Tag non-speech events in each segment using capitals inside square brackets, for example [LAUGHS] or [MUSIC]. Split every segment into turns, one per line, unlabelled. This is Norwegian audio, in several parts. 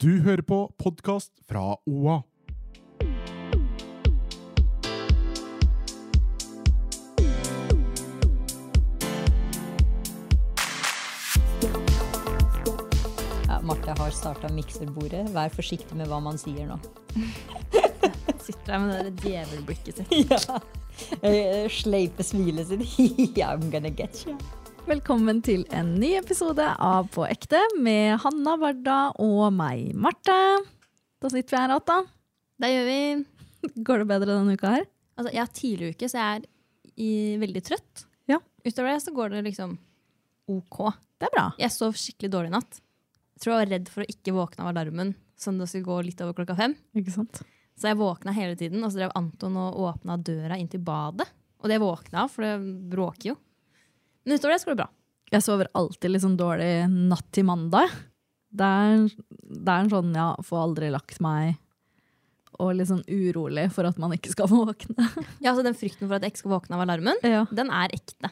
Du hører på podkast fra OA.
Ja, Marte har starta mikserbordet. Vær forsiktig med hva man sier [LAUGHS] nå.
Sitter der med det der djevelblikket sitt.
Ja. Eh, Sleipe smilet sitt. [LAUGHS] Yeah, I'm gonna get you.
Velkommen til en ny episode av På ekte med Hanna Varda og meg, Marte. Da sitter vi her igjen, da.
Det gjør vi.
Går det bedre denne uka her?
Altså, jeg har tidlig uke, så jeg er i, veldig trøtt.
Ja.
Utover det så går det liksom ok.
Det er bra.
Jeg sov skikkelig dårlig i natt. Jeg tror jeg var redd for å ikke våkne av alarmen, sånn det skulle gå litt over klokka fem.
Ikke sant?
Så jeg våkna hele tiden, og så drev Anton og åpna døra inn til badet. Og det våkna av, for det bråker jo. Men utover det så går det bra.
Jeg sover alltid litt sånn dårlig natt til mandag. Det er, det er en sånn ja, får aldri lagt meg og litt sånn urolig for at man ikke skal [LAUGHS] våkne.
Ja, altså Den frykten for at jeg ikke skal våkne av alarmen,
Ja.
den er ekte.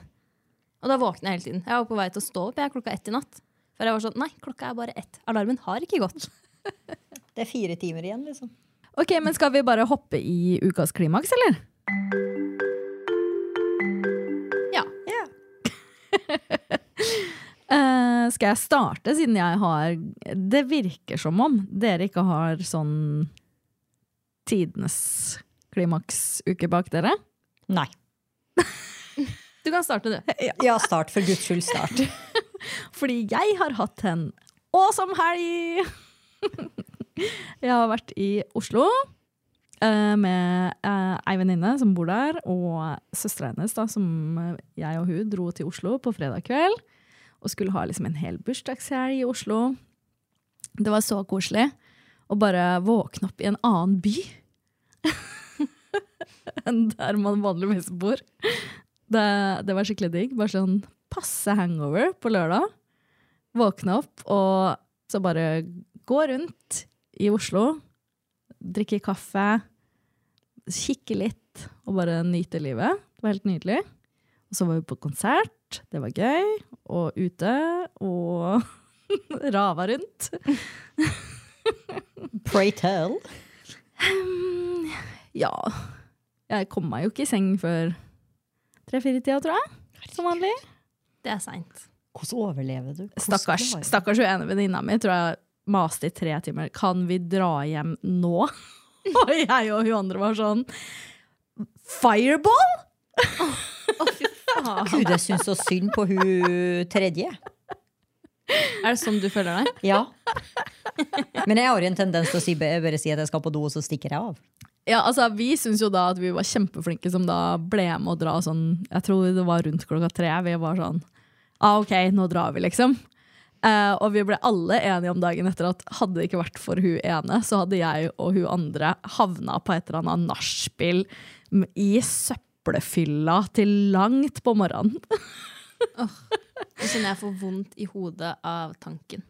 Og da våkner jeg hele tiden. Jeg var på vei til å stå opp jeg klokka ett i natt. For jeg var sånn, nei, klokka er bare ett. Alarmen har ikke gått.
Det er fire timer igjen, liksom.
Ok, men skal vi bare hoppe i ukas klimaks, eller?
Ja.
[LAUGHS] Eh, skal jeg starte, siden jeg har Det virker som om dere ikke har sånn tidenes klimaksuke bak dere.
Nei.
Du kan starte, du.
Ja, start. For guds skyld, start.
Fordi jeg har hatt en awesome helg! [LAUGHS] jeg har vært i Oslo eh, med eh, ei venninne som bor der, og søstera hennes, da, som eh, jeg og hun dro til Oslo på fredag kveld. Og skulle ha liksom en hel bursdagshelg i Oslo. Det var så koselig å bare våkne opp i en annen by [LAUGHS] enn der man vanligvis bor. Det, det var skikkelig digg. Bare sånn passe hangover på lørdag. Våkne opp og så bare gå rundt i Oslo. Drikke kaffe, kikke litt og bare nyte livet. Det var helt nydelig. Og så var vi på konsert. Det var gøy. Og ute og [LAUGHS] rava rundt.
[LAUGHS] Pray tell.
Ja Jeg kom meg jo ikke i seng før tre-fire-tida, tror jeg. Som vanlig.
Det er seint.
Hvordan overlever du? Hvordan
Stakkars,
klarer du?
stakkars hun ene venninna mi tror jeg maste i tre timer. Kan vi dra hjem nå? [LAUGHS] Og jeg og hun andre var sånn Fireball?!
Gud, jeg syns så synd på hun tredje.
Er det sånn du føler deg?
Ja. [LAUGHS] Men jeg har jo en tendens til å si, bare si at jeg skal på do, og så stikker jeg av.
Ja, altså Vi syns jo da at vi var kjempeflinke som da ble med å dra sånn Jeg tror det var rundt klokka tre. Vi var sånn ah, OK, nå drar vi, liksom. Eh, og vi ble alle enige om dagen etter at hadde det ikke vært for hun ene, så hadde jeg og hun andre havna på et eller annet nachspiel m- i søppelfylla til langt på morgenen. [LAUGHS]
Nå kjenner jeg får vondt i hodet av tanken.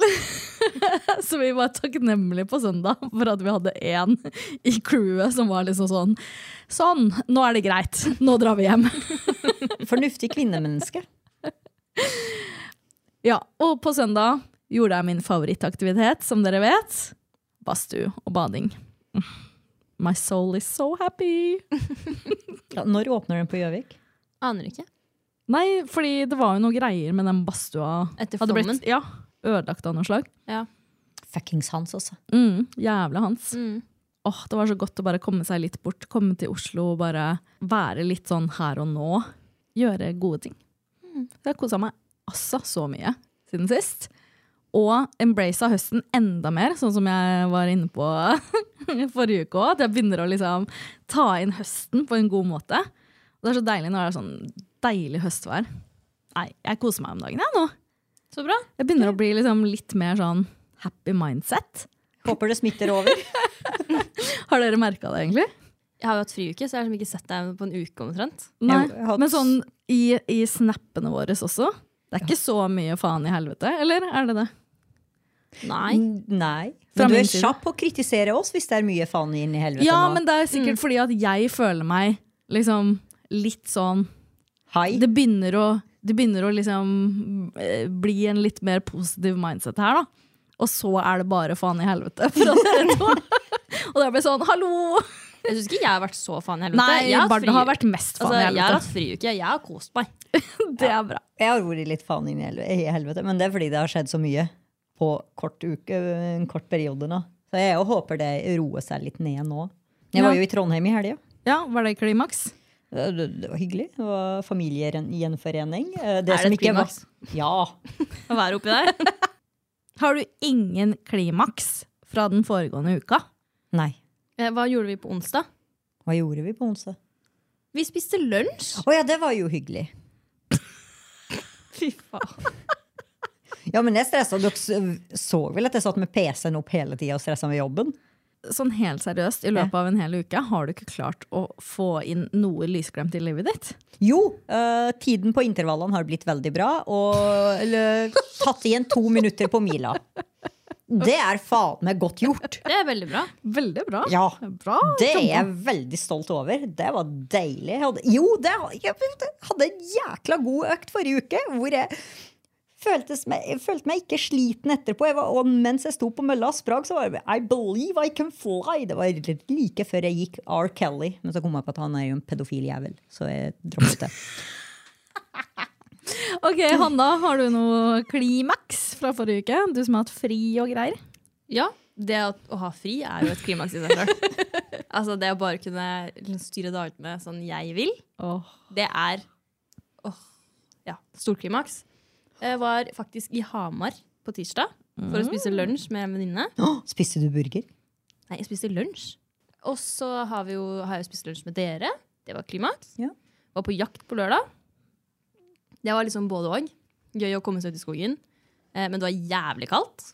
Så vi var takknemlige på søndag for at vi hadde én i crewet som var liksom sånn Sånn, nå er det greit. Nå drar vi hjem.
Fornuftig kvinnemenneske.
Ja, Og på søndag gjorde jeg min favorittaktivitet, som dere vet. Badstue og bading. Mm. My soul is so happy.
Ja, når åpner den på Gjøvik?
Aner ikke.
Nei, fordi det var jo noe greier med den badstua.
Etter
Hadde
flommen?
ja, ødelagt av noe slag.
Ja.
Fuckings Hans, altså.
Mm, jævla hans.
Mm.
Åh, Det var så godt å bare komme seg litt bort, komme til Oslo og bare være litt sånn her og nå. Gjøre gode ting.
Mm.
Så jeg har kosa meg altså så mye siden sist. Og embracet høsten enda mer, sånn som jeg var inne på [LAUGHS] forrige uke òg. At jeg begynner å liksom ta inn høsten på en god måte. Og det er så deilig når det er sånn deilig høstvær. Nei, jeg koser meg om dagen, jeg nå.
Så bra.
Jeg begynner å bli liksom litt mer sånn happy mindset.
Håper det smitter over.
Har dere merka det, egentlig?
Jeg har jo hatt friuke, så jeg har liksom ikke sett deg på en uke omtrent.
Nei.
Jeg har hatt-
Men sånn i, i snappene våre også. Det er ikke så mye faen i helvete, eller er det det?
Nei.
Nei.
Fra
Men du
min
er
side.
kjapp på å kritisere oss hvis det er mye faen inn i helvete
Ja,
nå.
men det er sikkert fordi at jeg føler meg liksom litt sånn
Hei.
Det begynner å, det begynner å liksom eh, bli en litt mer positiv mindset her, da. Og så er det bare faen i helvete [LAUGHS] fra dere to. Og da blir jeg sånn hallo!
Jeg syns ikke jeg har vært så faen i helvete.
Nei,
jeg har hatt
Barda
fri-
har vært mest faen
altså,
i
jeg har
helvete.
hatt friuke. Jeg har kost meg.
Det er bra.
Jeg har vært litt faen inn i helvete, i helvete, men det er fordi det har skjedd så mye på kort uke, en kort periode nå. Så jeg jo håper det roer seg litt ned nå. Jeg var
Ja.
jo i Trondheim i helga.
Ja, var det klimaks?
Det, det- det var hyggelig. Det var familiegjenforening. Eh,
Er
som
det et
ikke var-
klimaks
Ja.
å være oppi der?
[LAUGHS] Har du ingen klimaks fra den foregående uka?
Nei.
Eh, Hva gjorde vi på onsdag?
Hva gjorde vi på onsdag?
Vi spiste lunsj.
Å ja, det var jo hyggelig.
[LAUGHS] Fy faen.
Ja, men jeg stressa. Dere s- så vel at jeg satt med PC-en opp hele tida og stressa med jobben?
Sånn helt seriøst, i løpet av en hel uke, har du ikke klart å få inn noe lysglemt i livet ditt?
Jo, eh, tiden på intervallene har blitt veldig bra, og eller, tatt igjen to minutter på mila. Det er faen meg godt gjort.
Det er veldig bra.
Veldig bra.
Ja,
Bra.
det er jeg veldig stolt over. Det var deilig. Jeg hadde, jo, det, jeg hadde en jækla god økt forrige uke, hvor jeg føltes meg, jeg følte meg ikke sliten etterpå. Jeg var, og mens jeg sto på mølla og sprang, så var det I believe I can fly. Det var like før jeg gikk R. Kelly. Men så kom jeg på at han er jo en pedofil jævel, så jeg droppet det.
Ok, Hanna, har du noe klimaks fra forrige uke? Du som har hatt fri og greier.
Ja, det at, å ha fri er jo et klimaks i seg [LAUGHS] selv. altså, det å bare kunne liksom styre dagene sånn jeg vil, det er åh, ja, stort klimaks. Jeg var faktisk i Hamar på tirsdag for å spise lunsj med en venninne.
Åh, Spiste du burger?
Nei, jeg spiste lunsj. Og så har, vi jo, har jeg jo spist lunsj med dere. Det var klimaks.
Ja.
Var på jakt på lørdag. Det var liksom både og. Gøy å komme seg ut i skogen. Eh, men det var jævlig kaldt.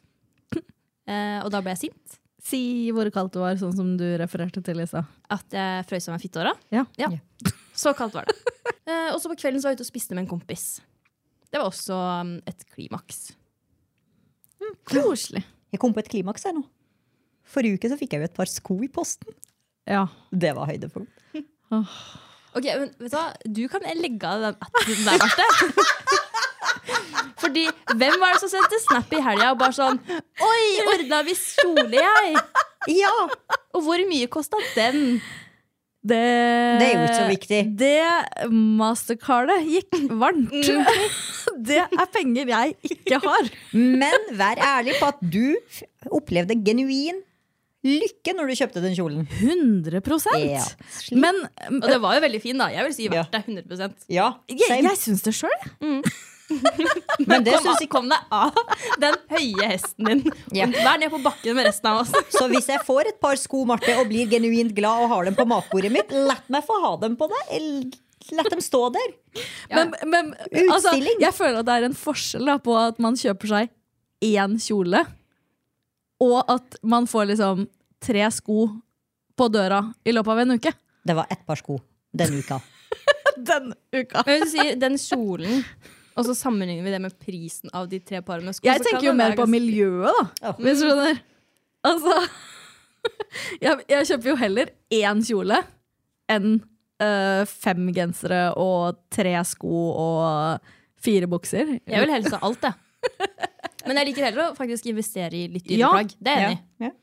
[LAUGHS] Eh, og da ble jeg sint.
Si hvor kaldt det var, sånn som du refererte til i stad.
At jeg frøs av meg fittehåra.
Ja.
Ja. [LAUGHS] Så kaldt var det. Eh, og så på kvelden så var jeg ute og spiste med en kompis. Det var også um, et klimaks.
Koselig.
Jeg kom på et klimaks her nå. Forrige uke så fikk jeg jo et par sko i posten.
Ja.
Det var høydepunkt.
Ok, men vet Du hva? Du kan legge av den appen der, Marte. Fordi hvem var det som sendte snap i helga og bare sånn Oi, ordna vi kjole, jeg!
Ja!
Og hvor mye kosta den?
Det,
Det er jo ikke så viktig.
Det mastercardet gikk varmt.
Mm.
det er penger jeg ikke har.
Men vær ærlig på at du f- opplevde genuin lykke når du kjøpte den kjolen.
100
Ja. Slik.
Men
Og det var jo veldig fin, da. Jeg vil si
Ja.
verdt det 100
Ja,
jeg,
same.
jeg syns det sjøl.
Men det
Kom,
syns
av- kom deg av den høye hesten din.
Ja.
Vær ned på bakken med resten av [LAUGHS] oss.
ikke. Så hvis jeg får et par sko Marte, og blir genuint glad og har dem på matbordet mitt, la meg få ha dem på deg. Eller La dem stå der.
Men, men altså,
Utstilling.
jeg føler at det er en forskjell da, på at man kjøper seg én kjole, og at man får liksom tre sko på døra i løpet av en uke.
Det var ett par sko denne uka.
Den uka.
Men hvis du sier den kjolen, og så sammenligner vi det med prisen av de tre parene med sko
Jeg
så kan
tenker jo
det
mer
være
på
ganske-
miljøet,
Ja.
da. Hvis du skjønner. Altså [LAUGHS] jeg, jeg kjøper jo heller én kjole enn eh, fem gensere og tre sko og fire bukser.
Jeg vil helst ha alt, jeg. [LAUGHS] Men jeg liker heller å faktisk investere i litt
Ja.
ytterplagg. Det er jeg enig i.
Ja.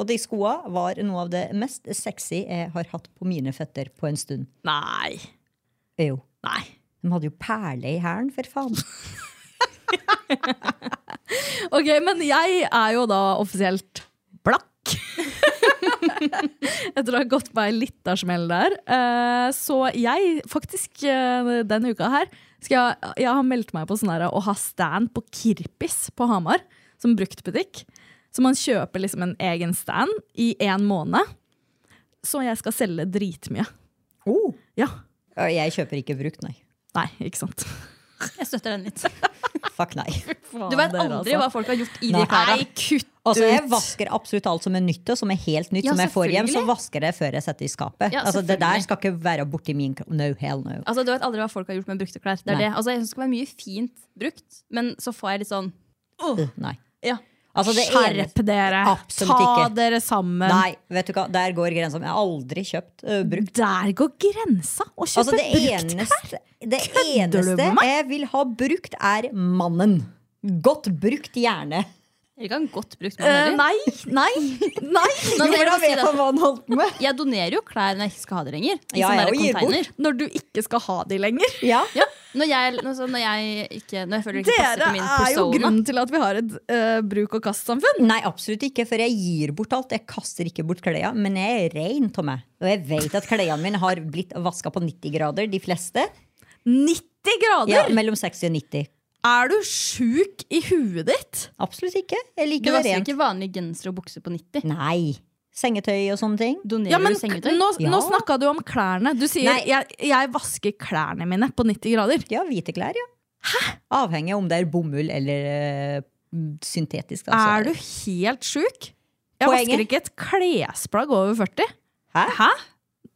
Og de skoa var noe av det mest sexy jeg har hatt på mine føtter på en stund.
Nei.
Jo.
Nei.
De hadde jo perle i hælen, for faen.
Ok, men jeg er jo da offisielt blakk. [LAUGHS] Etter å ha gått meg litt av smell der. Eh, Så jeg, faktisk eh, denne uka her, skal jeg, jeg har meldt meg på sånn her å ha stand på Kirpis på Hamar, som bruktbutikk. Så man kjøper liksom en egen stand i en måned. Så jeg skal selge dritmye.
Oh.
Ja.
Jeg kjøper ikke brukt, nei.
Nei, ikke sant.
Jeg støtter den litt.
Fuck nei.
altså-
Du vet aldri hva folk har gjort i de klærne.
kutt
Altså, jeg
ut.
vasker absolutt alt som er nytt, og som er helt nytt,
Ja,
som jeg får hjem. Så
selvfølgelig.
vasker jeg før jeg setter i skapet.
Ja,
altså, det der
selvfølgelig.
skal ikke være borti min kropp. No, hell no.
Altså, Du vet aldri hva folk har gjort med brukte klær. Det
Nei.
er det. Altså, jeg synes det skal være mye fint brukt, men så får jeg litt sånn
Uh, Nei.
ja.
Altså, det eneste-
Skjerp dere!
Absolutt
Ta
ikke.
dere sammen!
Nei, vet du hva? Der går grensa. Jeg har aldri kjøpt uh, brukt.
Der går grensa! Å kjøpe
Altså, det
brukt
eneste, det
Kødder du
eneste
med meg?
jeg vil ha brukt, er mannen. Godt brukt gjerne.
Jeg vil ikke ha en godt brukt mann
Eh,
heller.
nei, nei,
[LAUGHS]
nei!
Nå, men Altså, jeg
Hvordan
må si
vet
det.
han hva han holdt på med?
Jeg donerer jo klær når jeg ikke skal ha det lenger. I
Ja,
sånne
jeg
der
og gir bort.
container.
Når du ikke skal ha de lenger.
Ja.
Ja, når jeg, når, så- når jeg ikke Når jeg føler det ikke passer
Dere
til min
er jo
persona.
grunnen til at vi har et eh, bruk og kast-samfunn.
Nei, absolutt ikke, for jeg gir bort alt. Jeg kaster ikke bort klærne, men jeg er ren av meg. Og jeg vet at klærne mine har blitt vaska på 90 grader, de fleste.
90 grader!
Ja, mellom 60 og 90.
Er du sjuk i huet ditt?
Absolutt ikke. Jeg
Du
liker det
vasker
rent.
ikke vanlige genser og bukser på 90.
Nei. Sengetøy og sånne ting.
Donerer
Ja, men
du sengetøy?
nå,
Ja.
nå snakka du om klærne. Du sier
Nei.
jeg, 'jeg vasker klærne mine på 90 grader'.
Ja, hvite klær, ja. Avhengig av om det er bomull eller eh, syntetisk.
Er du helt sjuk? Jeg
Altså- Poenget-
vasker ikke et klesplagg over 40.
Hæ?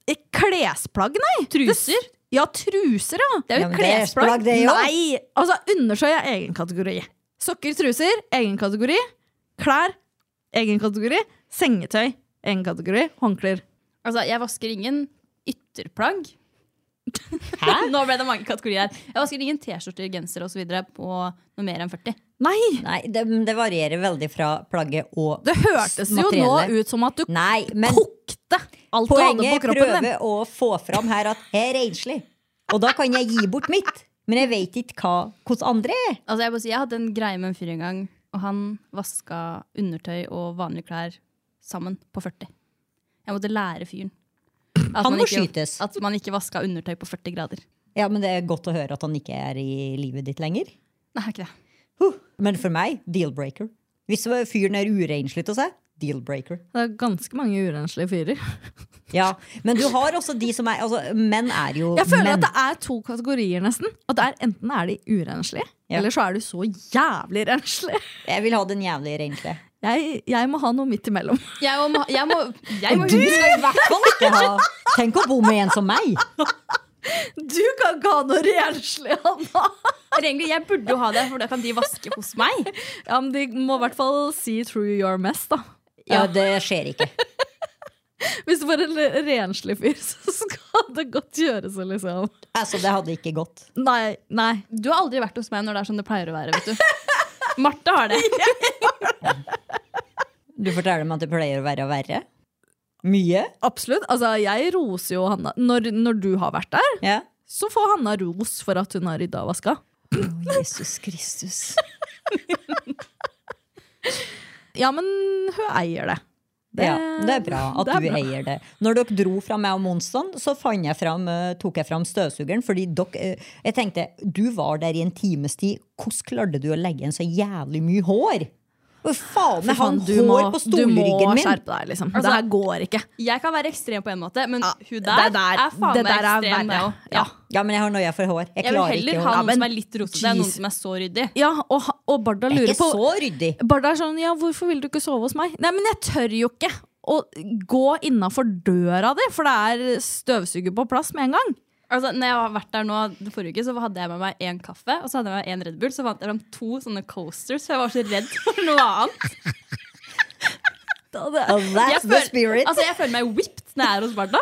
Et Eh, klesplagg, nei!
Truser?
Det- Ja, truser, ja.
Det er jo
Ja,
et
men det er
klesplagg.
plagg, det er jo.
Nei! Altså, undersøy er egen kategori. Sokker, truser, egen kategori. Klær, egen kategori. Sengetøy, egen kategori. Håndklær.
Altså, jeg vasker ingen ytterplagg. [LAUGHS] Nå ble det mange kategorier her. Jeg vasker ingen T-skjorter, genser osv. på noe mer enn 40.
Nei!
Nei, det, det varierer veldig fra plagget og
Det hørtes jo nå ut som at du
Nei, men
kokte alt du hadde på
poenget jeg
kroppen din.
prøver å få fram her at jeg er renslig. Og da kan jeg gi bort mitt. Men jeg vet ikke hva hos andre er.
Altså, jeg, må si, jeg hadde en greie med en fyr en gang, og han vaska undertøy og vanlige klær sammen på 40. Jeg måtte lære fyren. At
Han
man
må
ikke-
skytes.
At man ikke vaska undertøy på 40 grader.
Ja, men det er godt å høre at han ikke er i livet ditt lenger.
Nei, ikke det.
Huh. Men for meg, deal-breaker. Hvis fyren er urenslig til seg, deal-breaker.
Det er ganske mange urenslige fyrer.
Ja, Men du har også de som er altså, Menn er jo
Jeg føler
menn.
at det er to kategorier, nesten. At det er, enten er de urenslige,
Ja.
eller så er du så jævlig renslig.
Jeg vil ha den jævlig renslige.
Jeg, jeg må ha noe midt imellom.
Jeg må, jeg må, jeg må
Du skal i hvert fall ikke ha Tenk å bo med en som meg!
Du kan ikke ha noe renslig, Hanna! [LAUGHS]
Egentlig, jeg burde jo ha det, for da kan de vaske hos meg.
Ja, men de må i hvert fall si true your mess, da.
Ja, det skjer ikke.
Hvis du får en l- renslig fyr, [LAUGHS] så skal det godt gjøres, liksom.
Altså, det hadde ikke gått.
Nei, nei.
Du har aldri vært hos meg når det er sånn det pleier å være. vet du
[LAUGHS]
Marte har det.
Du forteller meg at det pleier å være verre. Mye.
Absolutt. Altså, jeg roser jo Hanna. Når, når du har vært der,
Ja.
så får Hanna ros for at hun har rydda og vaska.
Å, Jesus Kristus.
Ja, men hun eier det.
Det, ja, det er bra at
det er
du
bra.
eier det. Når dere dro fra meg om onsdagen, så fant jeg fram, eh, tok jeg fram støvsugeren. Fordi dere, eh, jeg tenkte, du var der i en times tid. Hvordan klarte du å legge igjen så jævlig mye hår? Å, faen, jeg hang
du
hår
må,
på
du må
stolryggen min!
skjerpe deg, liksom.
Altså,
det her går ikke.
Jeg kan være ekstrem på en måte, men hun der,
det der-
er faen
det
meg
der er
ekstrem.
verre.
det også.
Ja.
Ja, men jeg har nøya for hår. Jeg,
Jeg vil
klarer ikke
heller
å
ha
Ja,
noen
men
som er litt rotete, enn noen
jeez.
som er så ryddig.
Ja, og, og Barda
Jeg er
lurer
ikke
på
så ryddig.
Barda er sånn, ja, hvorfor vil du ikke sove hos meg? Nei, men jeg tør jo ikke å gå innafor døra di, for det er støvsuger på plass med en gang.
Altså, når jeg har vært der nå det forrige uke, så hadde jeg med meg én kaffe og så hadde jeg med meg en Red Bull. Så fant jeg fram to sånne coasters, for jeg var så redd [LAUGHS] for noe annet.
Oh,
Jeg
that's the
føl-
spirit.
altså, jeg føler meg whipped når jeg er hos Barda.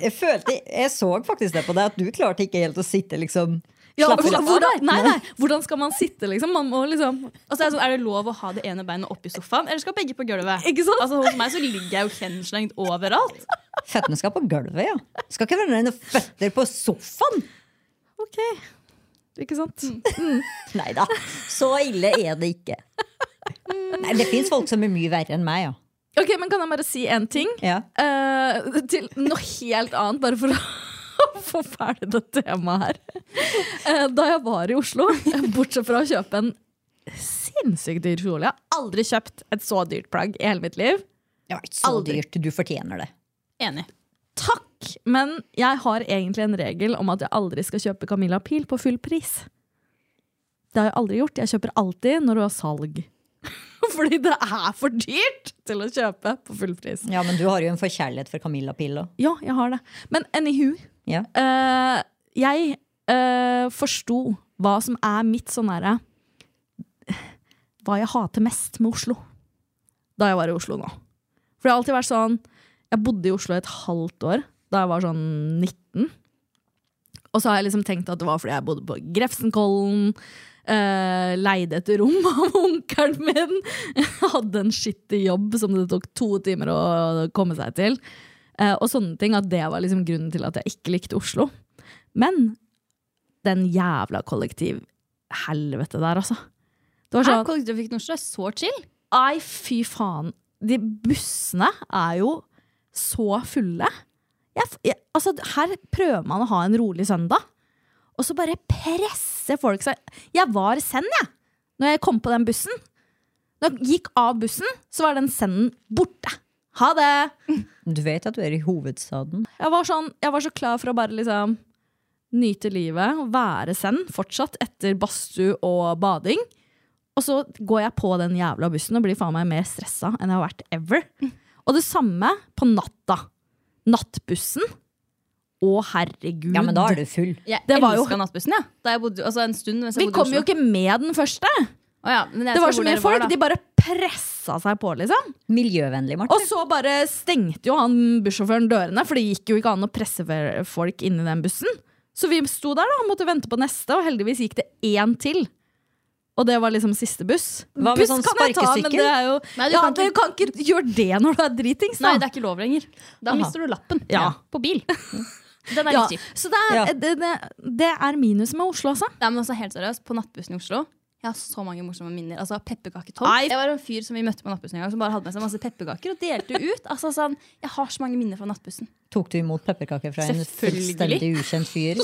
Jeg følte, jeg så faktisk det på deg, at du klarte ikke helt å sitte liksom
Ja,
slappe
hvordan,
av.
hvordan, nei, nei, hvordan skal man sitte, liksom? Man må liksom
Og så er, det sånn, er det lov å ha det ene beinet oppi sofaen, eller skal begge på gulvet?
Ikke sant?
Altså, Hos meg så ligger jeg jo henslengt overalt.
Føttene skal på gulvet, ja. Skal ikke være noen føtter på sofaen!
Ok. Mm. Ikke sant?
Nei da, så ille er det ikke. Nei, det fins folk som er mye verre enn meg, ja.
Ok, men Kan jeg bare si én ting?
ja.
Eh, til noe helt annet, bare for å [LAUGHS] få ferdig det temaet her. Eh, da jeg var i Oslo, bortsett fra å kjøpe en sinnssykt dyr kjole Jeg har aldri kjøpt et så dyrt plagg i hele mitt liv.
Det var ikke så
Aldri.
dyrt. Du fortjener det.
Enig.
Takk! Men jeg har egentlig en regel om at jeg aldri skal kjøpe Camilla Pil på full pris. Det har jeg aldri gjort. Jeg kjøper alltid når hun har salg. [LAUGHS] fordi det er for dyrt til å kjøpe på full pris.
Ja, men du har jo en forkjærlighet for Camilla Pilla.
Ja, jeg har det. Men anywho,
Ja.
eh, jeg eh, forsto hva som er mitt sånn herre Hva jeg hater mest med Oslo. Da jeg var i Oslo nå. For det har alltid vært sånn Jeg bodde i Oslo et halvt år da jeg var sånn 19. Og så har jeg liksom tenkt at det var fordi jeg bodde på Grefsenkollen. eh, leide et rom [LAUGHS] av onkelen min. Hadde en skittig jobb som det tok to timer å komme seg til. Eh, og sånne ting, at det var liksom grunnen til at jeg ikke likte Oslo. Men den jævla kollektivhelvete der, altså. Det var
Er
sånn,
kollektivtrafikken i Oslo er så chill?
Nei, fy faen. De bussene er jo så fulle. Jeg, f- jeg, altså, her prøver man å ha en rolig søndag, og så bare presser folk seg. Jeg var send, jeg, når jeg kom på den bussen. Når jeg gikk av bussen, så var den senden borte. Ha det!
Du vet at du er i hovedstaden.
Jeg var, sånn, jeg var så klar for å bare liksom nyte livet og være send fortsatt etter badstue og bading. Og så går jeg på den jævla bussen og blir faen meg mer stressa enn jeg har vært ever. Og det samme på natta. Nattbussen. Å, herregud.
Ja, men da er du full.
Jeg
Det var jo-
elska nattbussen, ja. Da jeg bodde, altså en stund mens jeg
Vi
bodde i
kom jo
Oslo.
ikke med den første!
Å ja, men jeg
Det
husker
var så
hvor
mye
dere
folk.
da.
De bare pressa seg på, liksom.
Miljøvennlig,
Og
Marte.
så bare stengte jo han bussjåføren dørene, for det gikk jo ikke an å presse fe- folk inn i den bussen. Så vi sto der da, og måtte vente på neste, og heldigvis gikk det én til. Og det var liksom siste buss.
Hva med
buss
sånn
kan jeg ta, men
sparkesykkel?
det er jo
Nei, du
Ja,
kan
du
ikke-
kan ikke gjøre det når du er dritings, da.
Nei, det er ikke lov lenger. Da
Aha.
mister du lappen
Ja.
på bil. Den er
ja.
litt kjip.
Så det er,
Ja.
det, det, det er minus med Oslo, altså.
Nei, men altså, helt seriøst, på nattbussen i Oslo Jeg har så mange morsomme minner. Altså, Pepperkaketom.
Nei.
Jeg var en fyr som vi møtte på nattbussen en gang, som bare hadde med seg masse pepperkaker og delte ut. Altså, sånn, jeg har så mange minner fra nattbussen.
Tok du imot pepperkaker fra en
Selvfølgelig.
fullstendig ukjent fyr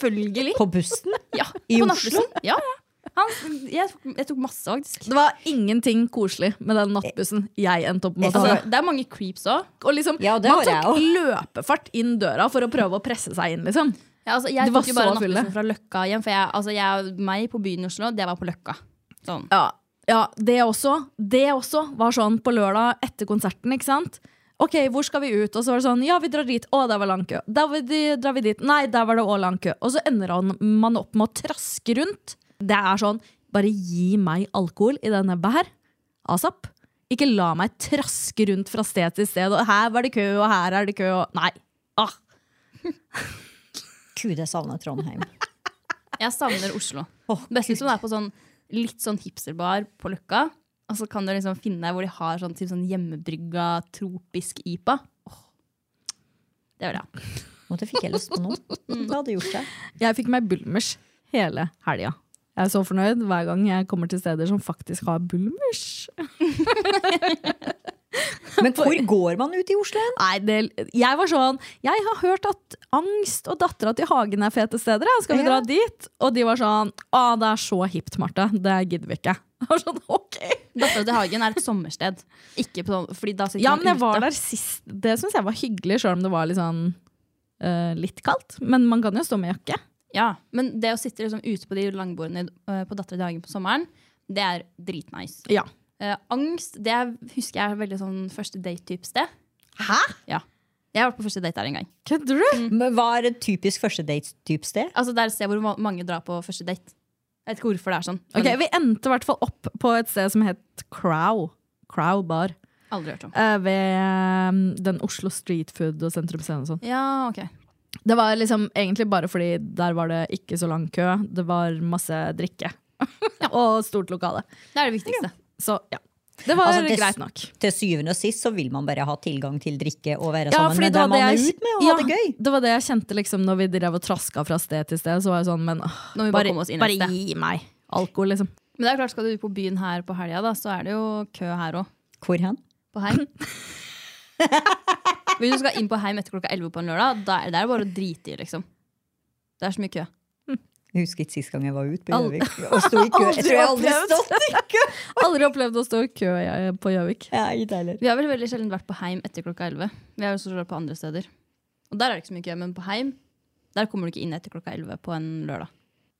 Selvfølgelig.
på bussen?
Ja,
I
på
Oslo?
nattbussen. Ja, ja. Han, jeg, tok, jeg tok masse, faktisk.
Det var ingenting koselig med den nattbussen jeg endte opp med å
Altså,
ta.
det er mange creeps òg.
Og liksom,
Ja, det har
man
jeg
tok løpefart inn døra for å prøve å presse seg inn, liksom.
Ja, altså, jeg
Det var
tok jo bare
så fulle.
nattbussen fra Løkka hjem. For jeg, altså, jeg, meg på byen i Oslo, det var på Løkka. Sånn.
Ja, ja det, også, det også var sånn på lørdag etter konserten, ikke sant? Ok, hvor skal vi ut? Og så var det sånn, ja, vi drar dit. Å, der var lang kø. Der var de- drar vi dit. Nei, der var det også lang kø. Og så ender han- man opp med å traske rundt. Det er sånn, bare gi meg alkohol i denne nebbet her. ASAP. Ikke la meg traske rundt fra sted til sted, og her var det kø, og her er det kø, og nei. Ah.
Gud, jeg savner Trondheim.
Jeg savner [LAUGHS] Oslo.
Åh,
Best hvis man er på sånn litt sånn hipsterbar på Løkka. Og så kan du liksom finne hvor de har sånn, typ sånn hjemmebrygga tropisk IPA. Åh. Det vil jeg ha.
Nå fikk jeg lyst på noe. Hva hadde [LAUGHS] gjort det?
Jeg fikk meg bulmers hele helga. Jeg er så fornøyd hver gang jeg kommer til steder som faktisk har bulmers.
Men hvor går man ut i Oslo hen?
Nei, det, jeg var sånn Jeg har hørt at angst og dattera til Hagen er fete steder. ja. Skal vi dra
Ja.
dit? Og de var sånn Å, det er så hipt, Marte. Det gidder vi ikke. [LAUGHS] Jeg var sånn, ok
Dattera til Hagen er et sommersted. Ikke på sånn, fordi da sitter
Ja,
man
men jeg
ute.
var der sist. Det syns jeg var hyggelig, sjøl om det var litt sånn eh, litt kaldt. Men man kan jo stå med jakke.
Ja, men det å sitte liksom ute på de langbordene eh, på Dattera til Hagen på sommeren, det er dritnice.
Ja.
Eh, angst det er, husker jeg er veldig sånn første date-type sted.
Hæ?
Ja. Jeg har vært på første date der en gang.
Kødder du?
Men Hva er et typisk første date-type sted?
Altså Det er et sted hvor ma- mange drar på første date. Jeg vet ikke hvorfor det er sånn. men
Ok, Vi endte i hvert fall opp på et sted som het Crow. Crow bar.
Aldri hørt om.
eh, ved um, den Oslo Street Food og Sentrum Scene og sånn.
Ja, ok.
Det var liksom egentlig bare fordi der var det ikke så lang kø. Det var masse drikke. [LAUGHS] og stort lokale.
Det er det viktigste.
Så ja. Det var
Altså, det-
greit nok.
Til syvende og sist så vil man bare ha tilgang til drikke og være sammen med dem
hadde
man er
jeg-
ut med, og
ja,
ha det gøy.
Det var det jeg kjente liksom når vi drev og traska fra sted til sted. Så var jeg sånn, men åh,
Nå må vi bare
bare,
komme oss inn et
bare
sted.
gi meg alkohol, liksom.
Men det er klart, skal du ut på byen her på helga, da, så er det jo kø her òg.
Hvor hen?
På [LAUGHS] Heim. Hvis du skal inn på Heim etter klokka 11 på en lørdag, da er det er det bare å drite i, liksom. Det er så mye kø.
Jeg husker ikke sist gang jeg var ute på
Al-
Gjøvik. Og sto
[LAUGHS]
i kø. Jeg tror jeg aldri
opplevd.
stått i kø.
[LAUGHS] Aldri opplevd å stå i kø jeg- på Gjøvik.
Ja, ikke det heller.
Vi har vel veldig sjelden vært på Heim etter klokka 11. Vi har jo stort sett vært på andre steder. Og der er det ikke så mye kø, men på Heim der kommer du ikke inn etter klokka 11 på en lørdag.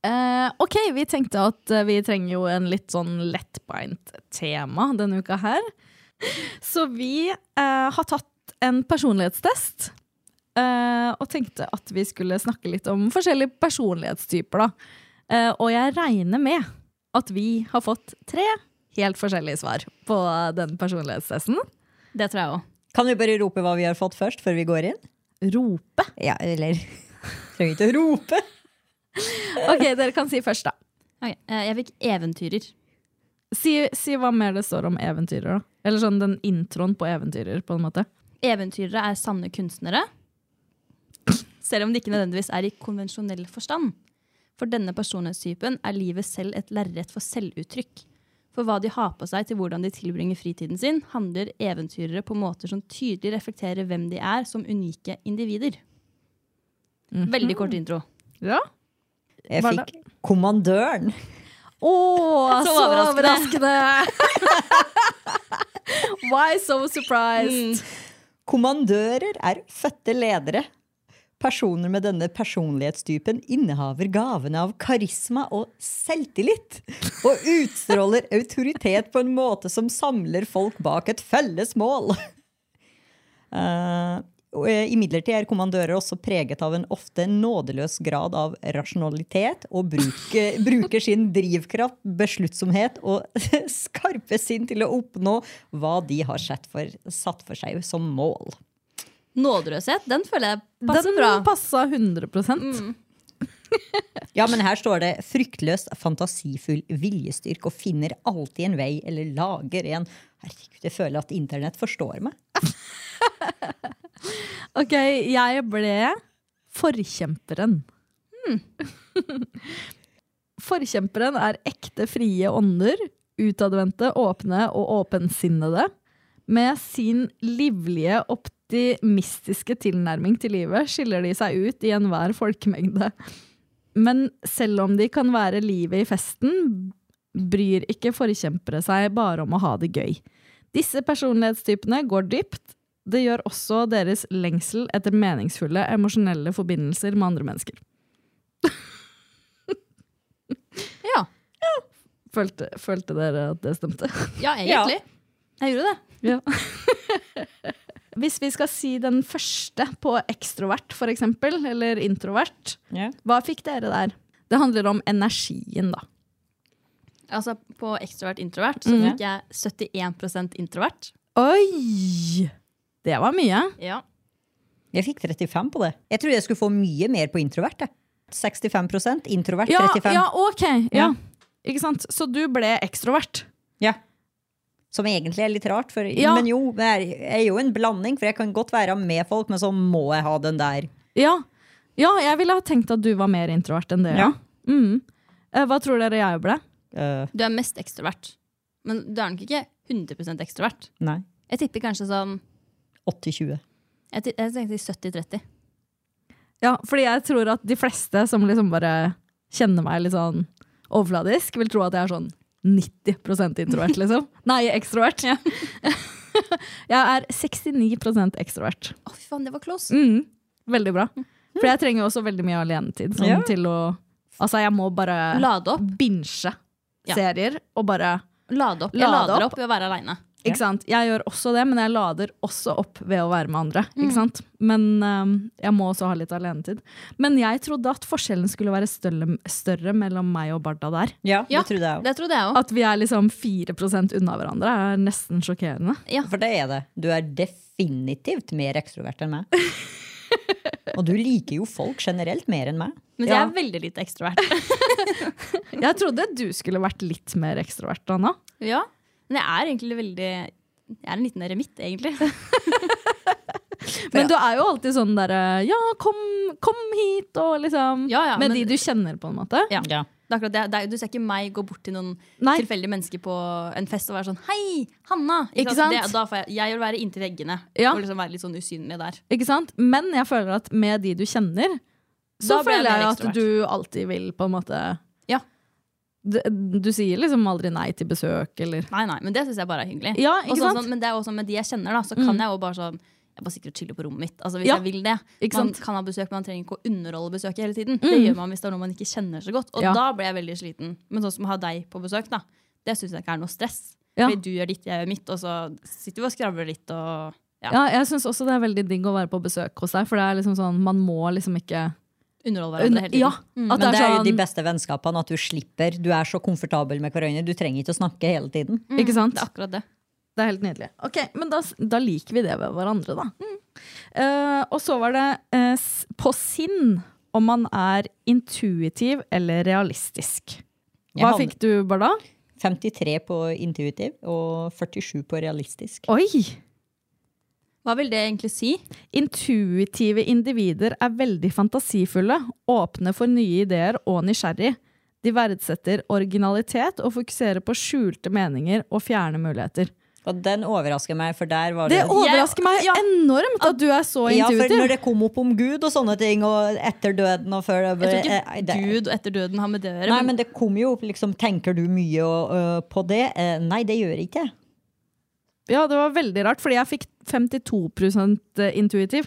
Eh, ok, vi tenkte at eh, vi trenger jo en litt sånn lettbeint tema denne uka her. [LAUGHS] Så vi eh, har tatt en personlighetstest. eh, og tenkte at vi skulle snakke litt om forskjellige personlighetstyper. Da. Eh, og jeg regner med at vi har fått tre helt forskjellige svar på den personlighetstesten.
Det tror jeg òg.
Kan vi bare rope hva vi har fått først, før vi går inn?
Rope.
Ja, eller [LAUGHS] Trenger ikke å rope.
Ok, dere kan si først, da.
eh, Jeg fikk eventyrer.
Si, si hva mer det står om eventyrer. da. Eller sånn den introen på eventyrer, på en måte.
Eventyrere er sanne kunstnere. Selv om de ikke nødvendigvis er i konvensjonell forstand. For denne personlighetstypen er livet selv et lerret for selvuttrykk. For hva de har på seg til hvordan de tilbringer fritiden sin, handler eventyrere på måter som tydelig reflekterer hvem de er som unike individer. Veldig kort intro.
Ja.
Jeg
Var det-
fikk kommandøren.
Å, så,
Så
overraskende! [LAUGHS] Why so surprised?
Mm.
Kommandører er fødte ledere. Personer med denne personlighetstypen innehaver gavene av karisma og selvtillit. Og utstråler autoritet på en måte som samler folk bak et felles mål. Uh, Imidlertid er kommandører også preget av en ofte nådeløs grad av rasjonalitet, og bruker, bruker sin drivkraft, besluttsomhet og [LAUGHS] skarpe sinn til å oppnå hva de har sett for, satt for seg som mål.
Nådeløshet, den føler jeg passer
Den
bra. Mm.
passa 100
Ja, men her står det 'fryktløst, fantasifull, viljestyrk' og 'finner alltid en vei' eller 'lager en'. Herregud, jeg føler at internett forstår meg.
Ok, jeg ble forkjemperen. [LAUGHS] forkjemperen er ekte frie ånder, utadvendte, åpne og åpensinnede. Med sin livlige, optimistiske tilnærming til livet skiller de seg ut i enhver folkemengde. Men selv om de kan være livet i festen, bryr ikke forkjempere seg bare om å ha det gøy. Disse personlighetstypene går dypt. Det gjør også deres lengsel etter meningsfulle emosjonelle forbindelser med andre mennesker.
Ja.
Følte, følte dere at det stemte? [LAUGHS]
ja, egentlig. Jeg gjorde det.
Hvis vi skal si den første på ekstrovert, for eksempel, eller introvert, hva fikk dere der? Det handler om energien, da.
Altså, på ekstrovert-introvert så fikk jeg 71 introvert.
Oi! Det var mye.
Ja.
Jeg fikk 35 på det. Jeg trodde jeg skulle få mye mer på introvert. Jeg. 65 introvert
Ja,
35.
ja ok. Ja.
Ja.
Ikke sant? Så du ble ekstrovert.
Ja. Som egentlig er litt rart, for,
Ja.
men jo, det er, er jo en blanding. For jeg kan godt være med folk, men så må jeg ha den der.
Ja. ja, jeg ville ha tenkt at du var mer introvert enn det. Ja.
Ja.
Mm. Eh, Hva tror dere jeg ble?
øh,
Du er mest ekstrovert. Men du er nok ikke 100 ekstrovert.
nei.
Jeg tipper kanskje sånn
80-20.
Jeg, ti- jeg tenkte 70-30.
Ja, fordi jeg tror at de fleste som liksom bare kjenner meg litt sånn overfladisk, vil tro at jeg er sånn 90 introvert,
[LAUGHS]
liksom. Nei, ekstrovert. [LAUGHS] jeg er 69 ekstrovert.
Å, fy faen, det var close!
Mm. Veldig bra. For jeg trenger jo også veldig mye alenetid. Sånn
Ja.
til å Altså, jeg må bare
Mm. Lade opp.
binge
Ja.
serier og bare
Lade opp. Jeg
Lade
lader
opp.
opp ved å være aleine.
Ikke sant? Jeg gjør også det, men jeg lader også opp ved å være med andre.
Mm.
Ikke sant? Men øhm, jeg må også ha litt alenetid. Men jeg trodde at forskjellen skulle være større, større mellom meg og Barda der.
Ja,
Ja,
det trodde jeg òg.
Det trodde jeg òg.
At vi er liksom 4 unna hverandre, er nesten sjokkerende.
For det er det. Du er definitivt mer ekstrovert enn meg. [LAUGHS] Og du liker jo folk generelt mer enn meg.
Men jeg
Ja.
er veldig lite ekstrovert.
Jeg trodde du skulle vært litt mer ekstrovert, Anna.
ja. Men jeg er egentlig veldig Jeg er en liten eremitt, egentlig.
Men du er jo alltid sånn derre Ja, kom, kom hit, og liksom
Ja, ja,
Med
men-
de du kjenner, på en måte.
Ja. Det er akkurat det. det er, du ser ikke meg gå bort til noen
Nei.
tilfeldige mennesker på en fest og være sånn Hei, Hanna!
Ikke sant?
Det, da får jeg, jeg vil være inntil veggene
Ja.
og liksom være litt sånn usynlig der.
Ikke sant? Men jeg føler at med de du kjenner, så
Da blir jeg
føler
mer
jeg at
ekstrovert.
du alltid vil på en måte
Ja.
Du, du sier liksom aldri nei til besøk, eller
Nei, nei, men det syns jeg bare er hyggelig.
Ja,
Og
ikke
sånn
sant? Mm.
som- men det er også med de jeg kjenner, da, så kan jeg jo bare sånn Jeg bare sitter og chiller på rommet mitt. Altså, hvis
Ja,
jeg vil det.
ikke
Man
sant? Mm.
kan ha besøk, men man trenger ikke å underholde besøket hele tiden. Det gjør man hvis det er noe man ikke kjenner så godt. Og
Ja.
da blir jeg veldig sliten. Men sånn som å ha deg på besøk, da, det syns jeg ikke er noe stress.
Ja.
Fordi du gjør ditt, jeg gjør mitt, og så sitter vi og skravler litt og ja,
Ja, jeg syns også det er veldig digg å være på besøk hos deg, for det er liksom sånn, man må liksom ikke
underholder hverandre hele tiden.
Ja, at
Men det er, jo de
sånn-
beste vennskapene, at du slipper. Du er så komfortabel med hverandre. Du trenger ikke å snakke hele tiden.
Ikke sant?
Det er akkurat det.
Det er helt nydelig. Ok, Men da, da liker vi det ved hverandre, da. Eh, og så var det eh, s- på sinn om man er intuitiv eller realistisk.
Jeg
Hva
havner-
fikk du, Barda?
53 på intuitiv og 47 på realistisk.
Oi!
Hva vil det egentlig si?
Intuitive individer er veldig fantasifulle, åpne for nye ideer og nysgjerrig. De verdsetter originalitet og fokuserer på skjulte meninger og fjerne muligheter.
Og den overrasker meg, for der var
Det
det
overrasker meg
ja.
enormt at du er så
Ja, for
intuitiv.
når det kom opp om Gud og sånne ting, og etter døden og
Jeg
før
tror
eh, det-
ikke Gud og etter døden har med det å gjøre.
Nei,
men-
men det kom jo opp liksom Tenker du mye og, øh, på det? Eh, nei, det gjør jeg ikke.
Ja, det var veldig rart, fordi jeg fikk 52 intuitiv.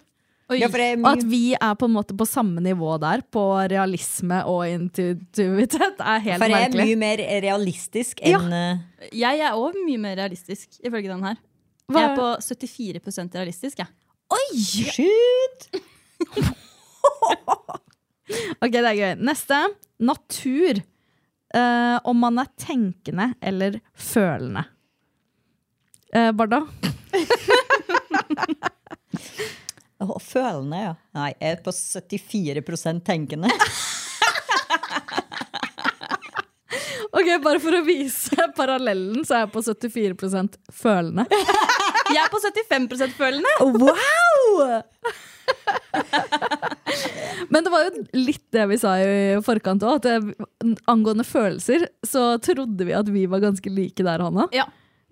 Oi.
Ja, for jeg, er
Og at
mye-
vi er på en måte på samme nivå der, på realisme og intuitivitet, er helt
for jeg er
merkelig.
mye mer realistisk
Ja.
enn eh,
Jeg er òg mye mer realistisk, ifølge den her.
Hva-
Jeg er på 74 realistisk, jeg.
Skyt!
Ok, det er gøy. Neste. Natur. Eh, om man er tenkende eller følende. Eh, Barda?
Å, følende, ja. Nei, jeg er på 74 tenkende. [LAUGHS]
Ok, Bare for å vise parallellen, så er jeg på 74 følende.
Jeg er på 75 følende!
Wow! Men det var jo litt det vi sa i forkant òg. Angående følelser så trodde vi at vi var ganske like der, Hanna.
Ja,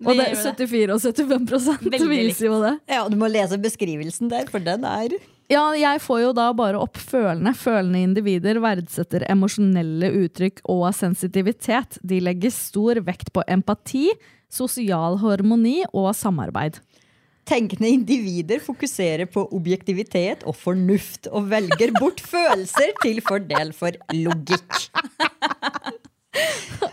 Og det,
gjør det.
74 og 75
Veldig likt.
viser jo det.
Ja, Du må lese beskrivelsen der, for den er
Ja, jeg får jo da bare opp følende. Følende individer verdsetter emosjonelle uttrykk og sensitivitet. De legger stor vekt på empati, sosial harmoni og samarbeid.
Tenkende individer fokuserer på objektivitet og fornuft, og velger bort [LAUGHS] følelser til fordel for logikk.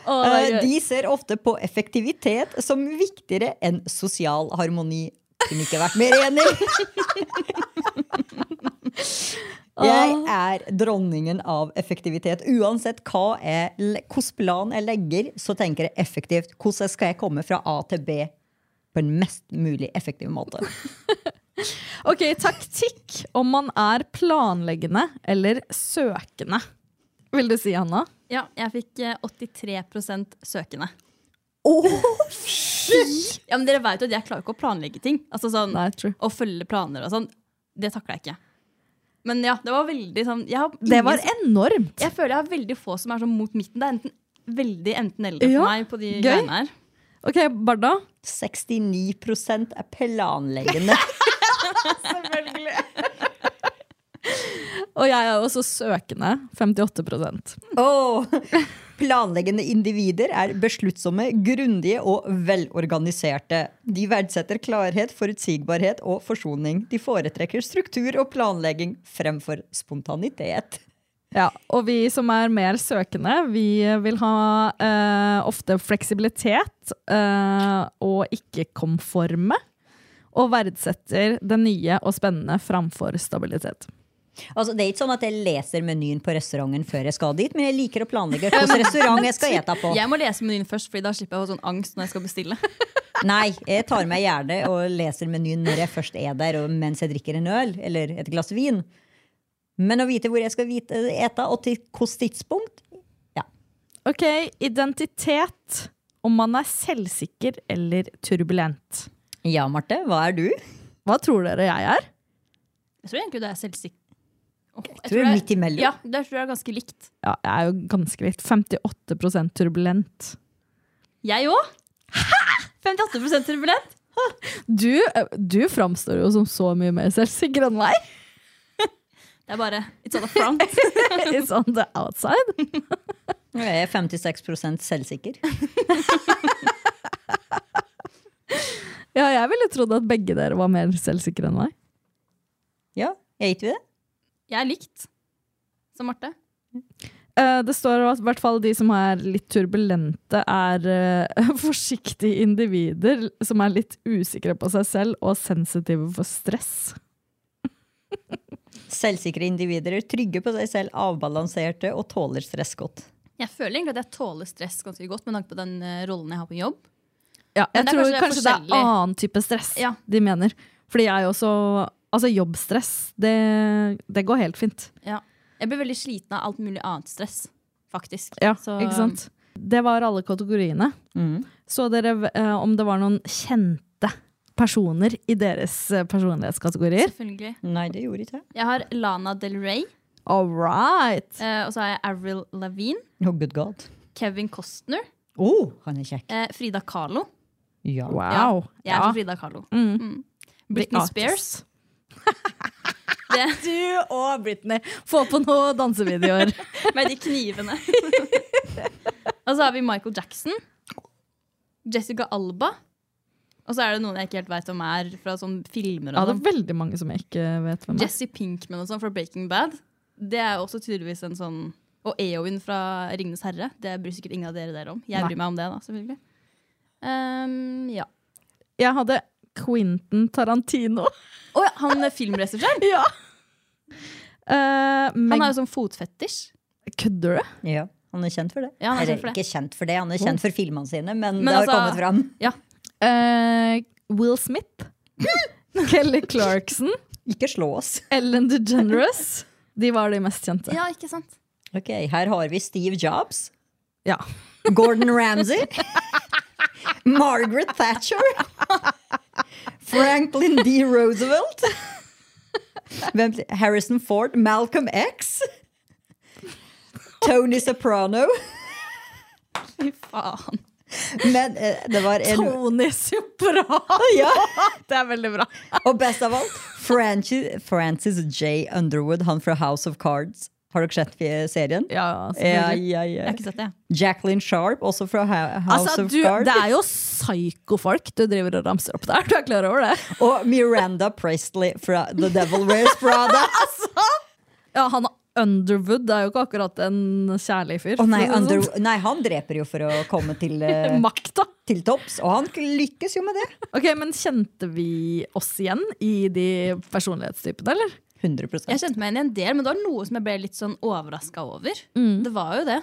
Eh, De ser ofte på effektivitet som viktigere enn sosial harmoni. Kunne ikke vært mer enig! Jeg er dronningen av effektivitet. Uansett hva jeg, hvilken plan jeg legger, så tenker jeg effektivt. Hvordan skal jeg komme fra A til B på en mest mulig effektiv måte?
Ok, taktikk om man er planleggende eller søkende. Vil du si, Hanna?
Ja, jeg fikk eh, 83 søkende. Ja, men dere vet jo at jeg klarer ikke å planlegge ting. Altså sånn,
Nei, true.
Å følge planer og sånn. Det takler jeg ikke. Men ja, det var veldig sånn jeg, har
Det var
ingen-
enormt!
jeg føler jeg har veldig få som er sånn mot midten. Det er enten veldig enten eller for
Ja,
meg på de
gøy.
greiene her.
Ok, Barda.
69 er planleggende.
Og jeg er også søkende. 58
Åh! [LAUGHS] Planleggende individer er besluttsomme, grundige og velorganiserte. De verdsetter klarhet, forutsigbarhet og forsoning. De foretrekker struktur og planlegging fremfor spontanitet.
Ja, og vi som er mer søkende, vi vil ha eh, ofte fleksibilitet eh, og ikke konforme. Og verdsetter det nye og spennende framfor stabilitet.
Altså, det er ikke sånn at jeg leser menyen på restauranten før jeg skal dit, men jeg liker å planlegge [LAUGHS] hvilken restaurant jeg skal ete på.
Jeg må lese menyen først, Fordi da slipper jeg å få sånn angst når jeg skal bestille.
Nei, jeg tar meg gjerne og leser menyen når jeg først er der, og mens jeg drikker en øl eller et glass vin. Men å vite hvor jeg skal vite, ete, og til hvilket tidspunkt
Ok, identitet. Om man er selvsikker eller turbulent.
Ja, Marte, hva er du?
Hva tror dere jeg er?
Jeg tror egentlig du er selvsikker. Åh, jeg
tror det er midt imellom.
Ja, det tror jeg er ganske likt.
Ja, jeg er jo ganske likt. 58 turbulent.
Jeg òg! 58 turbulent.
Du, eh, du framstår jo som så mye mer selvsikker enn meg. [LAUGHS]
Det er bare It's all a front.
It's on sånn the outside.
Nå er jeg 56 selvsikker.
Ja, jeg ville trodd at begge dere var mer selvsikre enn meg.
Ja, jeg gitt vi det?
Jeg er likt som Marte.
Eh, Det står at i hvert fall de som er litt turbulente, er eh, [LAUGHS] forsiktige individer som er litt usikre på seg selv og sensitive for stress.
Selvsikre individer er trygge på seg selv, avbalanserte og tåler stress godt.
Jeg føler egentlig at jeg tåler stress ganske godt med tanke på den eh, rollen jeg har på jobb.
Ja, jeg
Men det er
tror
kanskje det er
kanskje det er
forskjellig.
annen type stress
Ja.
de mener. Fordi jeg også Altså, jobbstress, det, det går helt fint.
Jeg blir veldig sliten av alt mulig annet stress, faktisk.
Ja,
Så,
ikke sant? Det var alle kategoriene.
Mm.
Så dere eh, om det var noen kjente personer i deres eh, personlighetskategorier?
eh, Selvfølgelig.
Nei, det gjorde ikke jeg.
Jeg har Lana Del Rey,
All right!
eh, og så har jeg Avril Lavigne,
Oh, good god.
Kevin Costner,
Oh, han er kjekk.
eh, Frida Kahlo.
Ja.
Wow.
Jeg er for Frida Kahlo. Mm. Britney
artist.
Spears. [LAUGHS]
Du og Britney, få på noen dansevideoer.
Med de knivene. [LAUGHS] og så har vi Michael Jackson. Jessica Alba. Og så er det noen jeg ikke helt veit om er fra sånne filmer.
[LAUGHS] Ja,
Og
det er
sånn.
veldig mange som jeg ikke vet hvem er.
Jesse Pinkman og sånn fra Breaking Bad. Det er også tydeligvis en sånn Og Eowyn fra Ringenes herre. Det bryr sikkert ingen av dere dere om. Jeg bryr meg om det, da, selvfølgelig. Ehm, ja.
Jeg hadde Quentin Tarantino.
Å ja, han [LAUGHS] filmregissøren.
ja. Eh,
Han
Meg
har jo sånn fotfetisj.
Kødder du?
Ja, han er kjent for det.
Ja, han er
Eller,
kjent for det.
Ikke kjent for det, han er kjent for filmene sine, men,
Men
det har
altså-
kommet fram.
Eh, Will [LAUGHS] Smith. Kelly Clarkson.
Ikke slå oss.
Ellen DeGeneres. De var de mest kjente.
Ja, ikke sant?
Ok, her har vi Steve Jobs.
Ja.
Gordon Ramsay. [LAUGHS] Margaret Thatcher. [LAUGHS] Franklin D. Roosevelt. [LAUGHS] Hvem, Harrison Ford. Malcolm X. Tony Soprano.
Fy faen.
Men eh, det var en
Tony [LAUGHS] Soprano!
ja.
Det er veldig bra.
Og best av alt, Francis, Francis J. Underwood, han fra House of Cards. Har dere sett eh, serien?
Ja,
Ja,
selvfølgelig. er
ja,
Jeg
ja.
har ikke sett det. jeg.
Jacqueline Sharp, også fra Ha- House
Altså,
of
du,
Cards.
det er jo psykofolk du driver og ramser opp der. Du er klar over det?
Og Miranda Presley fra The Devil Wears
[LAUGHS]
Prada.
Ja, han Underwood er jo ikke akkurat en kjærlig fyr.
Å nei,
for å si det
under,
sånn.
nei, han dreper jo for å komme
[LAUGHS]
til, eh,
[LAUGHS] Makta!
til topps, og han lykkes jo med det.
Ok, Men kjente vi oss igjen i de personlighetstypene, eller?
100
Jeg kjente meg igjen i en del, men det var noe som jeg ble litt sånn overraska over. Det var jo det.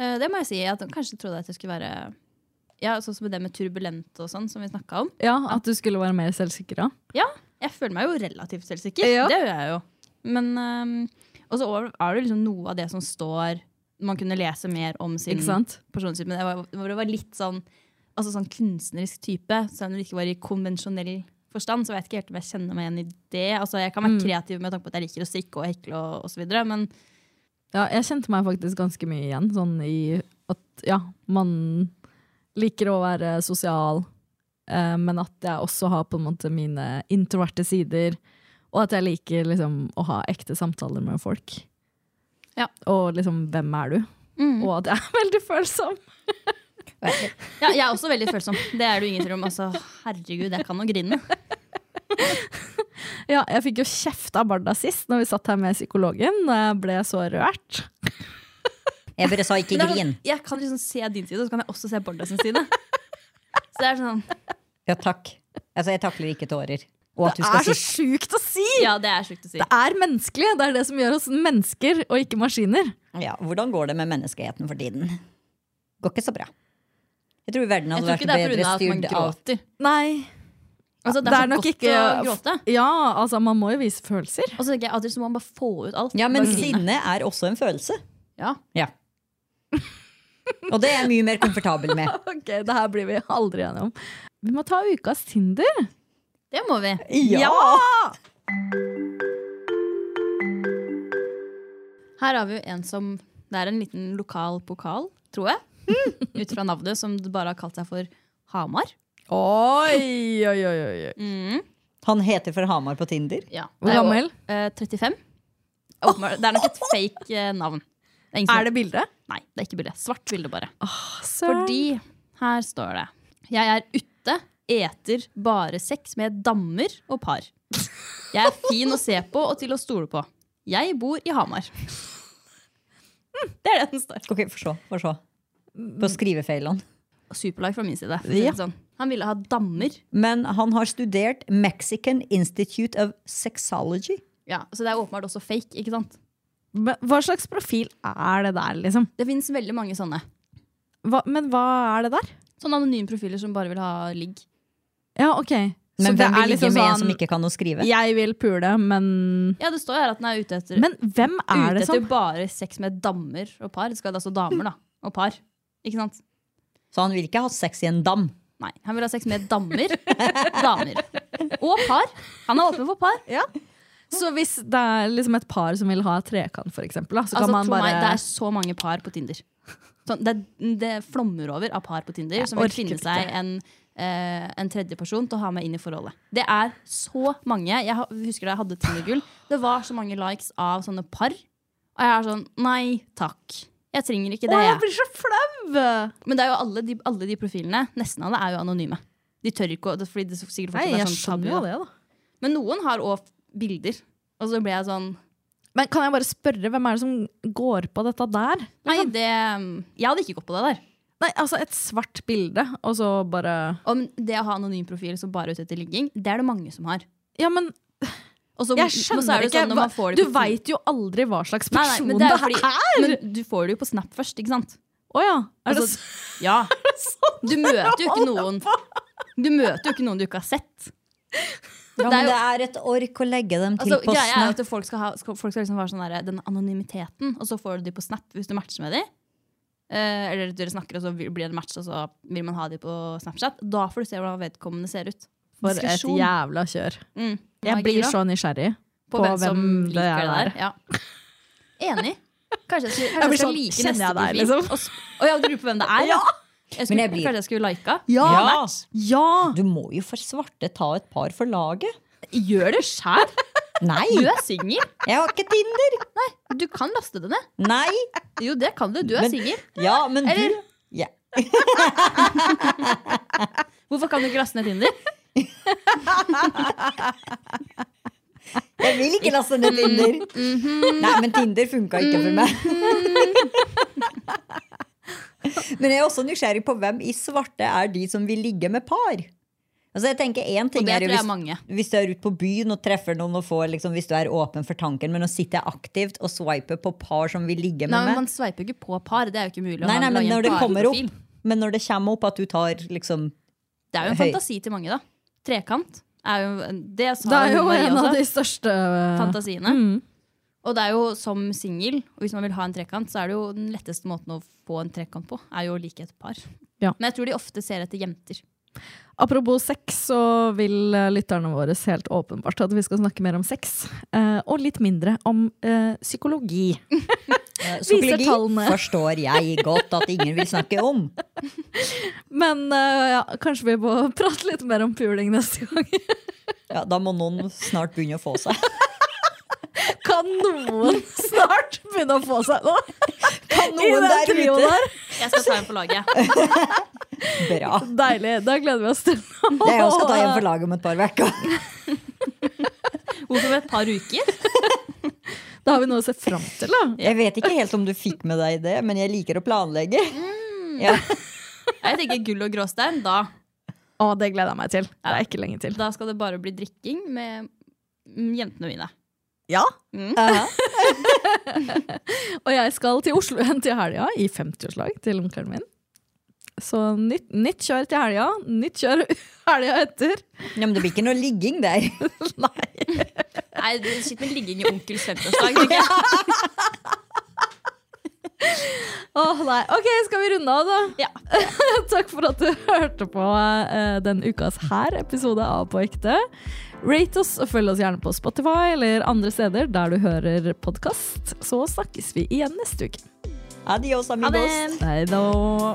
Eh, Det må jeg si. Jeg t- kanskje trodde at jeg skulle være Ja, sånn som det med turbulent og sånn, som vi snakka om.
Ja, At du skulle være mer selvsikker? ja.
Ja, jeg føler meg jo relativt selvsikker.
Ja.
Det gjør jeg jo. Men ehm, Og så over- er det liksom noe av det som står Man kunne lese mer om sin
Ikke sant?
personlighet, men det var, hvor det var litt sånn Altså sånn kunstnerisk type, selv om det ikke var i konvensjonell forstand. Så jeg vet ikke helt om jeg kjenner meg igjen i det. Altså Jeg kan være
Mm.
kreativ med tanke på at jeg liker å strikke og hekle og osv., men
Ja, jeg kjente meg faktisk ganske mye igjen. Sånn i at ja, man liker å være sosial, eh, men at jeg også har på en måte mine introverte sider. Og at jeg liker liksom, å ha ekte samtaler med folk.
Ja.
Og liksom, hvem er du?
Mm.
Og at jeg er [LAUGHS] veldig følsom.
Ja, jeg er også veldig følsom. Det er du ingen tvil om. Altså, herregud, jeg kan jo
[LAUGHS]
grine.
Ja, jeg fikk jo kjeft av Barda sist, når vi satt her med psykologen. Og jeg ble så rørt.
Jeg bare sa ikke
Men det er
grin.
sånn- Jeg kan liksom se din side, og så kan jeg også se Borda sin side. Så det er sånn
Ja, takk. Altså, jeg takler ikke tårer. Og at du
Det
skal
er så
si
sjukt å si!
Ja, det er sjukt å si.
Det er menneskelig. Det er det som gjør oss mennesker, og ikke maskiner.
ja, Hvordan går det med menneskeheten for tiden? Går ikke så bra. Jeg tror verden
Jeg
hadde
tror ikke Altså,
vært
det er
bedre
pga. at man
styrt av
gråter.
Nei,
Altså, det er, så godt å gråte. Altså,
Ja, altså man må jo vise følelser.
Og så tenker jeg alltid så må man bare få ut alt.
Ja, men
Bare grine.
sinne er også en følelse.
Ja. [LAUGHS]
Ja. Og det er jeg mye mer komfortabel med.
[LAUGHS] Ok, Det her blir vi aldri enige om. Vi må ta ukas Tinder.
Det må vi. Her har vi jo en som Det er en liten lokal pokal, tror jeg. Ut fra navnet, som bare har kalt seg for Hamar.
Oi, oi, oi, oi.
Han heter fra Hamar på Tinder.
Mm. Ja.
Hvor
Det er jo,
gammel?
eh, 35. Åpenbart- Det er nok et fake eh, navn. Det er ingen som-
Mm. Er det bilde?
Nei, det er ikke bilde. Svart bilde, bare. Fordi her står det Jeg er ute, eter bare sex med dammer og par. Jeg er fin å se på og til å stole på. Jeg bor i Hamar. Mm, Det er det den står.
Ok, få se. Få se. På skrivefeilene.
Superlag fra min side. for å si det
Ja.
Sånn. Han ville ha dammer.
Men han har studert Mexican Institute of Sexology.
Ja, så det er åpenbart også fake. ikke sant?
Men hva slags profil er det der, liksom?
Det fins veldig mange sånne.
Hva, men hva er det der?
Sånne anonyme profiler som bare vil ha ligg.
Ja, ok. Så
Men
det
hvem
er
vil ligge
liksom
med en
sånn,
som ikke kan å skrive?
Jeg vil pule, men
Ja, det står her at den er ute etter,
Men hvem
ute
er det
etter
som
bare sex med dammer og par. Det skal da stå damer, da. Og par. Ikke sant?
Så han vil ikke ha sex i en dam.
Nei, han vil ha sex med dammer. [LAUGHS] Damer. Og par. Han er åpen for par.
Så hvis det er liksom et par som vil ha trekant, for eksempel, da, så
Altså,
kan man
tro
bare
meg, det er så mange par på Tinder. Sånn, det, det flommer over av par på Tinder
Jeg
som vil
orker
finne
ikke.
seg en, eh, en tredjeperson til å ha med inn i forholdet. Det er så mange. Jeg ha- husker da jeg hadde Tinder-gull. Det var så mange likes av sånne par. Og jeg er sånn Nei takk. Jeg trenger ikke det.
Å, jeg
Jeg.
blir så flau!
Men det er jo alle de, alle de profilene, nesten alle, er jo anonyme. De tør ikke å det- Fordi det er sikkert
Nei,
fortsatt er
jeg
sånn tabu.
skjønner jo
da.
det, da.
Men noen har òg bilder. Og så ble jeg sånn
Men kan jeg bare spørre, hvem er det som går på dette der?
Nei, det mm, Jeg hadde ikke gått på det der.
Nei, altså et svart bilde, og så bare
Om det å ha anonym profil som bare er ute etter ligging, det er det mange som har.
Ja, men
Og så-
jeg
men så er
skjønner
det
ikke!
sånn når man
hva,
får
du
det på-
veit jo aldri hva slags
Nei, nei,
person
men
det,
er fordi-
er!
Men du får det jo på Snap først, ikke sant? sånn?
Å ja. Er
Altså, [LAUGHS] ja. Du møter jo ikke noen Du møter jo ikke noen du ikke har sett.
Ja,
det er
men
jo-
det er et ork å legge dem til
Altså,
på
greia er jo
Snap.
at folk skal, ha, skal, folk skal liksom være sånn der, den anonymiteten, og så får du de på Snap hvis du matcher med de. Eh, eller dere snakker, og så vil- blir det match, og så vil man ha de på Snapchat. Da får du se hvordan vedkommende ser ut.
det for et
Diskusjon.
jævla kjør.
Mm. Hva er
Jeg blir
gira?
så nysgjerrig.
på, hvem, som liker det der. Ja. Enig. Kanskje jeg skulle, kanskje
Jeg
jeg
blir
skal
sånn,
like
kjenner
neste
jeg deg,
profil.
liksom?
Og s- Å ja, du lurer på hvem det er? Ja. Jeg skulle,
Men jeg blir-
Kanskje jeg skulle lika?
Ja.
Ja!
Du må jo for svarte ta et par
[LAUGHS]
for laget.
Gjør det sjæl!
Nei,
Du
jeg
er singel.
har ikke Tinder!
Du kan laste det ned.
Nei!
Jo, det kan du. Du er
Men-
singel.
Ja, men du
Eller-
ja.
Hvorfor kan du ikke laste ned Tinder?
Jeg vil ikke laste ned Tinder!
Mm-hmm.
Nei, men Tinder funka ikke for meg.
Mm-hmm.
Men jeg er også nysgjerrig på hvem i svarte er de som vil ligge med par. Altså jeg tenker en ting
Og det
er jo
tror jeg
hvis-
er mange.
hvis du er ute på byen og treffer noen og får liksom, hvis du er åpen for tanken, men å sitte aktivt og swipe på par som vil ligge
Nei,
med
men
meg.
Man sveiper jo ikke på par. Det er jo ikke mulig. å
Nei,
ha
nei,
en
men
lang
når det kommer
parprofil.
opp, men når det kommer opp at du tar liksom
Det er jo en
Høy.
fantasi til mange, da. Trekant. Er jo, en- det sa
[LAUGHS] Det er jo
Marie
en av
også.
de største
fantasiene.
Mm.
Og det er jo som singel, og hvis man vil ha en trekant, så er det jo den letteste måten å få en trekant på, er jo å like et par.
Ja.
Men jeg tror de ofte ser etter jenter.
Apropos sex, så vil eh, lytterne våre helt åpenbart at vi skal snakke mer om sex. eh, Og litt mindre om eh, psykologi.
eh,
Viser
psykologi,
tallene.
forstår jeg godt at ingen vil snakke om.
Men eh, ja, kanskje vi må [LAUGHS] prate litt mer om puling neste gang.
Ja, da må noen snart begynne å få
[LAUGHS]
seg.
Kan noen [LAUGHS] snart begynne å få seg noe?
Kan
I
noen
den
der
trioen
ute?
der.
Jeg skal ta en på laget.
Bra.
[LAUGHS] Deilig. Da gleder vi oss til
Det er jo skal ta [LAUGHS] hjem for laget om et par uker.
Hvorfor med et par uker?
Da har vi noe å se fram til, da.
Jeg vet ikke helt om du fikk med deg det, men jeg liker å planlegge. Ja.
Jeg tenker gull og gråstein. Da,
Å, det gleder jeg meg til. Det er ikke lenge til.
da skal det bare bli drikking med mm, jentene mine.
Ja.
Mm.
Aha.
Og jeg skal til Oslo [LAUGHS] igjen til helga, i 50-årslag til onkelen min. Så nytt, nytt kjør til helga. Nytt kjør [LAUGHS] helga etter.
Ja, men det blir ikke noe ligging der.
Nei, det sitter med ligging i onkels 50-årsdag. tenker jeg.
Åh, nei. Ok, skal vi runde av, da?
Ja.
[LAUGHS] Takk for at du hørte på eh, den ukas her episode av På ekte. Rate oss og følg oss gjerne på Spotify eller andre steder der du hører podkast. Så snakkes vi igjen neste uke.
Adios,
Ha
amigos.
det!
Hei da.